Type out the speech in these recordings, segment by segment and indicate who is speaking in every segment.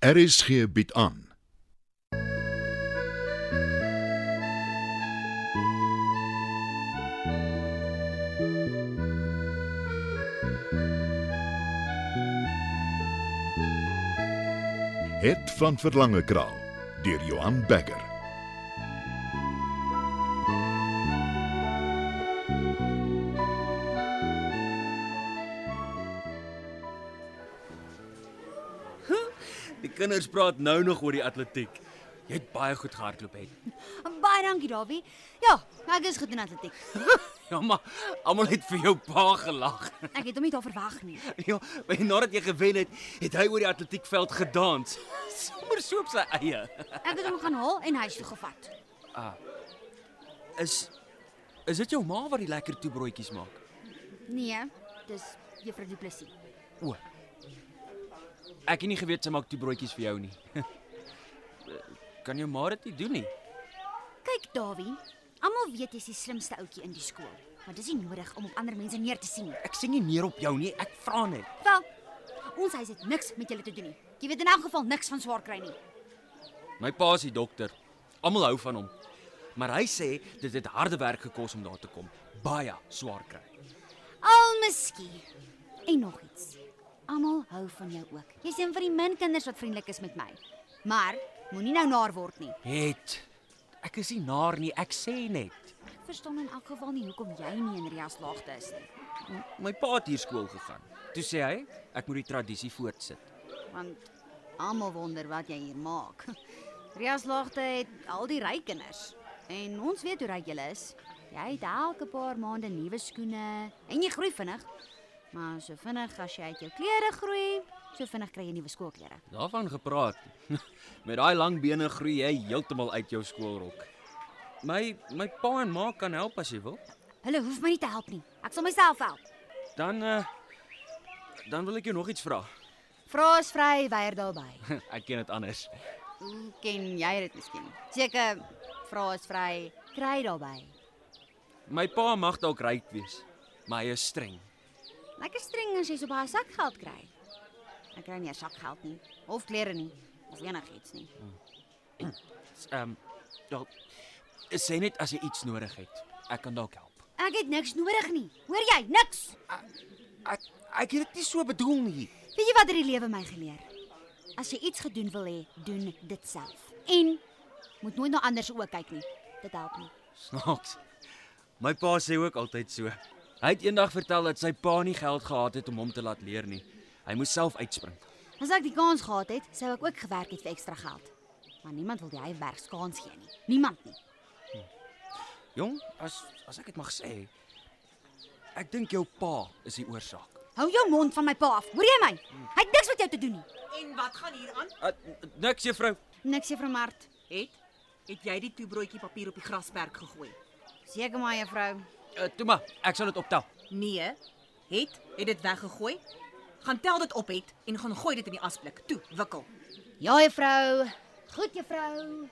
Speaker 1: RSG bied aan. Het van Verlange Kraal deur Johan Becker.
Speaker 2: Die kinders praat nou nog oor die atletiek. Jy het baie goed gehardloop het.
Speaker 3: Baie dankie, Dawie. Ja, ek is goed in atletiek.
Speaker 2: Ja, maar almal het vir jou pa gelag.
Speaker 3: Ek het hom nie daar verwag nie.
Speaker 2: Ja, maar nadat jy gewen het, het hy oor die atletiekveld gedans. Sommer so op sy eie.
Speaker 3: Ek het hom gaan haal en huis toe gevat.
Speaker 2: Is is dit jou ma wat die lekker toebroodjies maak?
Speaker 3: Nee, dis Juffrou Du Plessis.
Speaker 2: O. Ek het nie geweet sy maak toebroodjies vir jou nie. Kan jou ma dit nie doen nie.
Speaker 3: Kyk, Dawie, almal weet jy's die slimste ouetjie in die skool, maar dis nie nodig om op ander mense neer te sien nie.
Speaker 2: Ek sien nie neer op jou nie, ek vra net.
Speaker 3: Wel, ons huis het niks met julle te doen nie. Jy weet in elk geval niks van swaar kry nie.
Speaker 2: My pa is die dokter. Almal hou van hom. Maar hy sê dit het harde werk gekos om daar te kom. Baie swaar kry.
Speaker 3: Al miskien. En nog iets. Almal hou van jou ook. Jy's een van die min kinders wat vriendelik is met my. Maar moenie nou naar word nie.
Speaker 2: Het ek is nie naar nie, ek sê net.
Speaker 3: Ek verstaan in elk geval nie hoekom jy nie in Ria se laagte is nie.
Speaker 2: M- My pa het hier skool gegaan. Toe sê hy, ek moet die tradisie voortsit.
Speaker 3: want almal wonder wat jy hier maak. Rias laagte het al die ryk kinders en ons weet hoe ryk jy is. Jy het elke paar maande nuwe skoene en jy groei vinnig. Maar so vinnig as jy uit jou klere groei, so vinnig kry jy nuwe skoolklere.
Speaker 2: Daarvan gepraat. Met daai lang bene groei jy heeltemal uit jou skoolrok. My my pa en ma kan help as jy wil.
Speaker 3: Hulle hoef my nie te help nie. Ek sal myself help.
Speaker 2: Dan uh, dan wil ek jou nog iets vra.
Speaker 3: Vra is vry, weier daarby.
Speaker 2: ek ken dit anders.
Speaker 3: Hoe ken jy dit miskien? Seker vra is vry, kry daarby.
Speaker 2: My pa mag dalk ryk wees, maar hy is streng.
Speaker 3: Lekker streng as jy so baie sakgeld kry. Ek kry nie eers sakgeld nie of klere nie of enigiets nie.
Speaker 2: Ehm um, dalk sê net as jy iets nodig het. Ek kan dalk help.
Speaker 3: Ek het niks nodig nie. Hoor jy? Niks.
Speaker 2: Ek ek het dit nie so bedoel nie.
Speaker 3: Weet jy wat het die lewe my geleer? As jy iets gedoen wil hê, doen dit self. En moet nooit na ander se oë kyk nie. Dit help nie.
Speaker 2: Snaaks. My pa sê ook altyd so. Hy het eendag vertel dat sy pa nie geld gehad het om hom te laat leer nie. Hy moes self uitspring.
Speaker 3: As ek die kans gehad het, sou ek ook gewerk het vir ekstra geld. Maar niemand wil die huiswerk kans gee nie. Niemand nie.
Speaker 2: Jong, as as ek dit mag sê, ek dink jou pa is die oorsaak.
Speaker 3: Hou jou mond van my pa af. Hoor jy my? Hy het niks met jou te doen nie.
Speaker 4: En wat gaan hier aan?
Speaker 2: Uh, niks juffrou.
Speaker 3: Niks juffrou Mart.
Speaker 4: Het het jy die toebroodjie papier op die grasperk gegooi?
Speaker 3: Seker maar juffrou.
Speaker 2: Uh, toe maar, ek sal dit optel.
Speaker 4: Nee, het het dit weggegooi. Gaan tel dit op het en gaan gooi dit in die asblik. Toe, wikkel.
Speaker 3: Ja juffrou. Goed juffrou.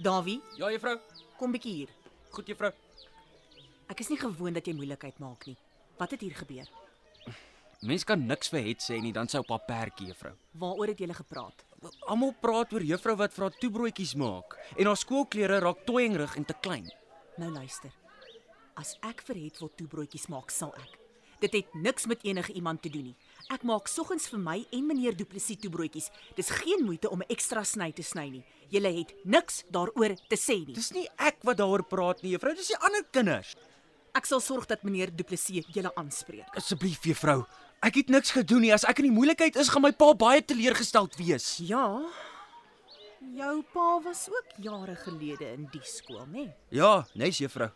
Speaker 4: Dawie,
Speaker 2: Ja juffrou.
Speaker 4: kom bietjie hier.
Speaker 2: Goed juffrou.
Speaker 4: Ek is nie gewoond dat jy moeilikheid maak nie. Wat het hier gebeur?
Speaker 2: Mens kan niks vir het sê nie, dan sou pa perkie juffrou.
Speaker 4: Waaroor het julle gepraat?
Speaker 2: Wel, Almal praat oor juffrou wat vra toebroodjies maak en haar skoolklere raak toyingrig en te klein.
Speaker 4: Nou luister. As ek vir het wil toebroodjies maak, sal ek. Dit het niks met enige iemand te doen nie. Ek maak soggens vir my en meneer Du Plessis toebroodjies. Dis geen moeite om 'n ekstra sny te sny nie. Julle het niks daaroor te sê nie.
Speaker 2: Dis nie ek wat daaroor praat nie, juffrou, dis die ander kinders.
Speaker 4: Ek sal sorg dat meneer Du Plessis julle aanspreek.
Speaker 2: Asseblief juffrou, ek het niks gedoen nie. As ek in die moeilikheid is, gaan my pa baie teleurgesteld wees.
Speaker 4: Ja. Jou pa was ook jare gelede in die skool, né? Nee?
Speaker 2: Ja, nes juffrou.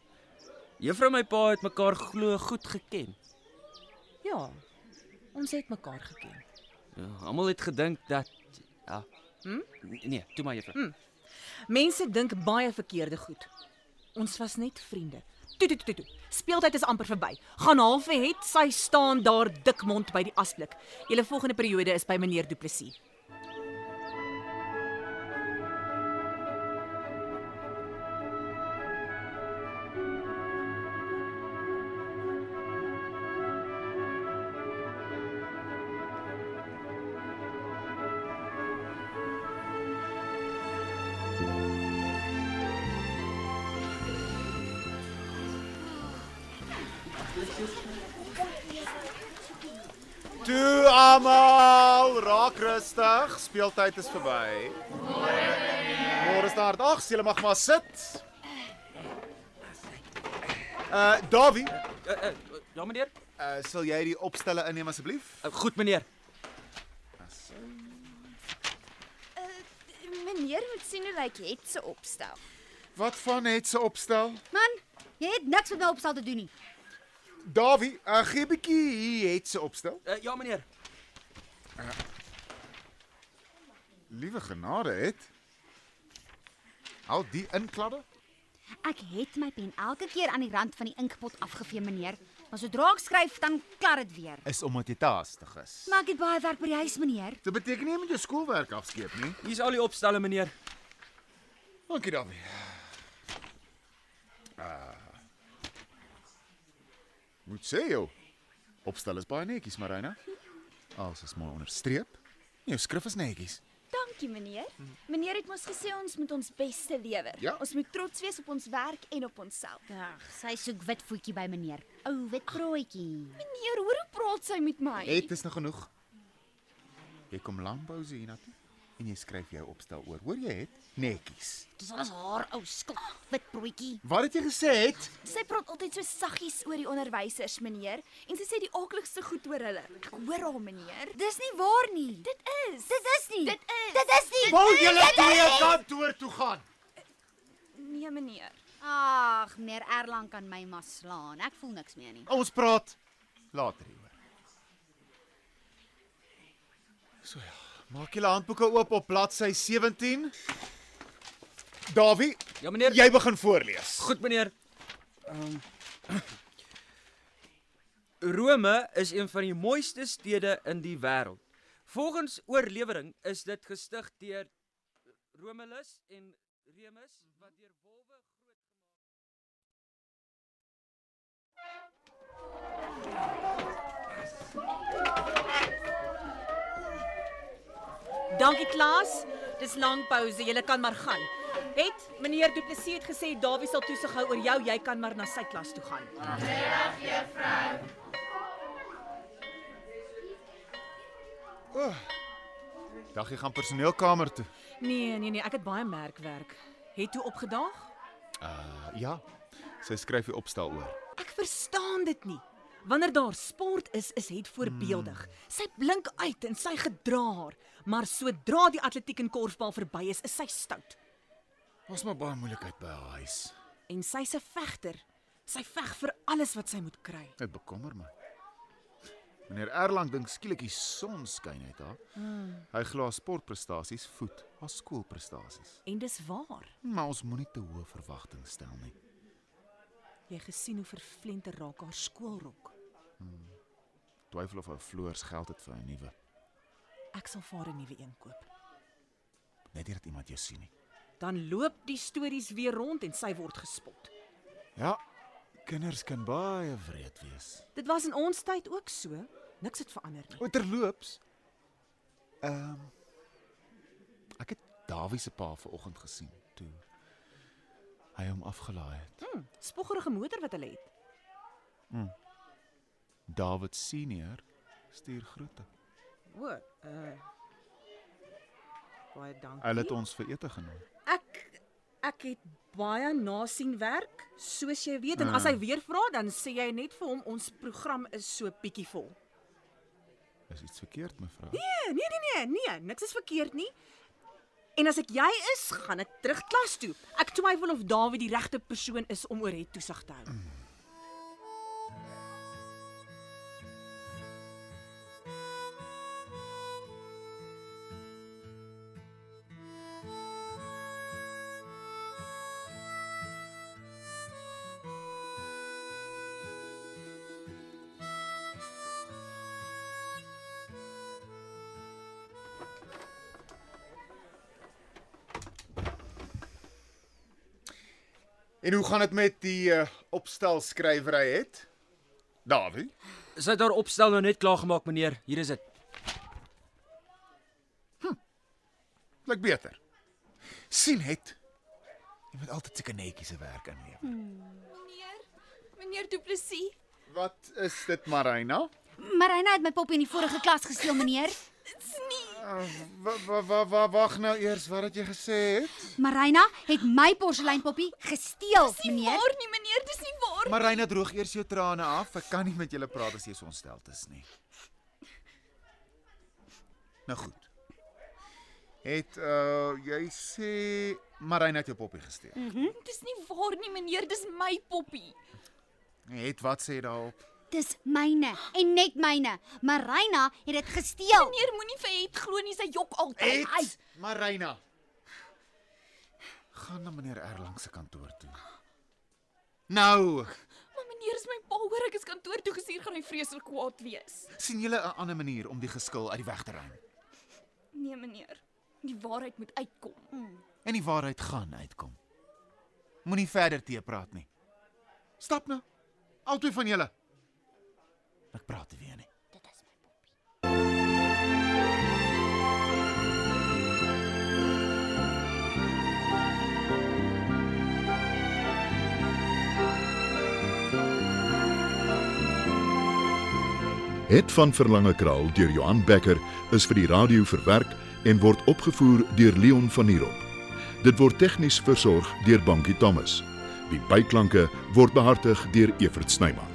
Speaker 2: Juffrou en my pa het mekaar glo goed geken.
Speaker 4: Ja. Ons het mekaar geken.
Speaker 2: Ja, almal het gedink dat ja. Hm? Nee, toe maar juffrou.
Speaker 4: Mense dink baie verkeerde goed. Ons was net vriende. Toe toe toe toe. Speeltyd is amper verby. Gaan half het sy staan daar dikmond by die asblik. Julle volgende periode is by meneer Du Plessis.
Speaker 5: Toe almal, raak rustig. Speeltyd is verby. Môre is daar dag, jy mag maar sit. Uh Davie,
Speaker 2: Uh, uh, ja meneer.
Speaker 5: uh, sal jy die opstelle inneem asseblief?
Speaker 2: Uh, goed meneer.
Speaker 6: Meneer moet sien hoe lyk het se opstel.
Speaker 5: Wat van het se opstel?
Speaker 3: Man, jy het niks met my opstel te doen nie.
Speaker 5: Davie, uh, gee 'n bietjie hier het se opstel.
Speaker 2: Uh, ja meneer.
Speaker 5: Liewe genade het. Al die inkladde?
Speaker 3: Ek het my pen elke keer aan die rand van die inkpot afgevee, meneer. Maar sodra ek skryf, dan klaar dit weer.
Speaker 5: Is omdat jy taastig is.
Speaker 3: Maar ek het baie werk by die huis, meneer.
Speaker 5: Dit beteken nie jy moet jou skoolwerk afskeep nie.
Speaker 2: Hier's al die opstelle meneer.
Speaker 5: Dankie Davie. Ah. Moet sê jou. Opstel is baie netjies, Marina. Alles is mooi onderstreep. Jou skrif is netjies.
Speaker 6: Dankie meneer. Meneer het mos gesê ons moet ons bes te lewer.
Speaker 5: Ja.
Speaker 6: Ons moet trots wees op ons werk en op onsself.
Speaker 3: Ag, sy soek wit voetjie by meneer. Ou wit broodjie.
Speaker 6: Meneer, hoor hoe praat sy met my?
Speaker 5: Het is nog genoeg. Jy kom landbouse hiernatoe en jy skryf jou opstel oor. Hoor jy het netjies.
Speaker 3: Dis alles haar ou skla, wit broodjie.
Speaker 5: Wat het jy gesê het?
Speaker 6: Sy praat altyd so saggies oor die onderwysers, meneer, en sy sê die aakligste goed oor hulle. Ek hoor haar, meneer.
Speaker 3: Dis nie waar nie. Dit
Speaker 6: Is.
Speaker 3: dit is nie.
Speaker 6: Dit is.
Speaker 3: Dit is nie.
Speaker 5: Wou julle twee kantoor toe gaan?
Speaker 6: Nee, meneer.
Speaker 3: Ag, meneer Erlang kan my maar slaan. Ek voel niks meer nie.
Speaker 5: Ons praat later hieroor. So ja, maak julle handboeke oop op bladsy 17. Dawie,
Speaker 2: Ja meneer.
Speaker 5: jy begin voorlees.
Speaker 2: Goed meneer. Um, Rome is een van die mooiste stede in die wêreld. Volgens oorlewering is dit gestig deur Romulus en Remus wat deur wolwe groot
Speaker 4: Dankie Klaas. Dis lank pouse. Jy kan maar gaan. Het meneer Du Plessis het gesê Dawie sal toesig hou oor jou. Jy kan maar na sy klas toe gaan.
Speaker 5: Dag jy gaan personeelkamer toe.
Speaker 4: Nee, nee, nee, ek het baie merkwerk. Het toe opgedaag?
Speaker 5: Uh, ja. Sy skryf die opstel oor.
Speaker 4: Ek verstaan dit nie. Wanneer daar sport is, is het voorbeeldig. Sy blink uit en sy gedra haar, maar sodra die atletiek en korfbal verby is, is sy stout.
Speaker 5: Ons maar baie moeilikheid by haar huis.
Speaker 4: En sy's 'n vegter. Sy veg vir alles wat sy moet kry.
Speaker 5: Dit bekommer my. Meneer Erlang dink skielik die son skyn uit haar. Hy glo haar sportprestasies voed haar skoolprestasies.
Speaker 4: En dis waar.
Speaker 5: Maar ons moenie te hoë verwagtinge stel nie.
Speaker 4: Jy gesien hoe vervlenter raak haar skoolrok.
Speaker 5: Twyfel of hy floors geld het vir 'n nuwe.
Speaker 4: Ek sal vir haar 'n nuwe een koop.
Speaker 5: Net nie dat iemand jou sien nie.
Speaker 4: Dan loop die stories weer rond en sy word gespot.
Speaker 5: Ja, kinders kan baie wreed wees.
Speaker 4: Dit was in ons tyd ook so. Niks het verander nie.
Speaker 5: Oterloops. Ehm um, Ek het Dawie se pa vanoggend gesien toe hy hom afgelaai het.
Speaker 4: Hm, spoggerige motor wat hulle het.
Speaker 5: David senior stuur groete.
Speaker 4: O, uh baie dankie.
Speaker 5: Hulle het ons vir ete genooi.
Speaker 4: Ek ek het baie nasien werk, soos jy weet, en as
Speaker 5: Ah.
Speaker 4: hy weer vra, dan sê jy net vir hom ons program is so bietjie vol.
Speaker 5: Is iets verkeerd mevrou?
Speaker 4: Nee, nee, nee, nee, nee, niks is verkeerd nie. En as ek jy is, gaan ek terug klas toe. Ek twyfel of Dawie die regte persoon is om oor het toesig te hou.
Speaker 5: En hoe gaan dit met die uh, opstel skrywery het? Dawie,
Speaker 2: Sy het haar opstel nou net klaar gemaak, meneer. Hier is dit.
Speaker 5: klink beter. sien het. Jy moet altyd seker netjies se werk inlewer.
Speaker 6: Meneer, meneer Du Plessis,
Speaker 5: Wat is dit, Marina?
Speaker 3: Marina het my pop in die vorige klas gesteel, meneer.
Speaker 5: Wa- wa- wa- Wag nou eers, wat het jy gesê het?
Speaker 3: Marina het my porseleinpoppie gesteel, meneer.
Speaker 6: waar nie meneer, dis nie waar.
Speaker 5: Marina droog eers jou trane af. Ek kan nie met julle praat as jy so ontsteld is nie. Nou goed. Het uh jy sê Marina het jou poppie gesteel.
Speaker 6: Dis nie waar nie meneer, dis my poppie.
Speaker 3: Oh.
Speaker 5: Het wat sê daarop?
Speaker 3: Dis myne en net myne. Marina het dit gesteel.
Speaker 6: Meneer moenie vir het glo nie, sy jok altyd. Ai,
Speaker 5: Et Marina. Gaan na meneer Erlang se kantoor toe. Nou,
Speaker 6: maar meneer is my pa hoor ek is kantoor toe gestuur gaan hy vreeslik kwaad wees.
Speaker 5: sien julle 'n ander manier om die geskil uit die weg te ruim.
Speaker 6: Nee meneer, die waarheid moet uitkom.
Speaker 5: En die waarheid gaan uitkom. Moenie verder te praat nie. Stap nou. Albei van julle. Ek praat nie weer nie.
Speaker 1: Het van Verlange Kraal deur Johan Becker is vir die radio verwerk en word opgevoer deur Leon Van Heerop. Dit word tegnies versorg deur Bankie Thomas. Die byklanke word behartig deur Evert Snyman.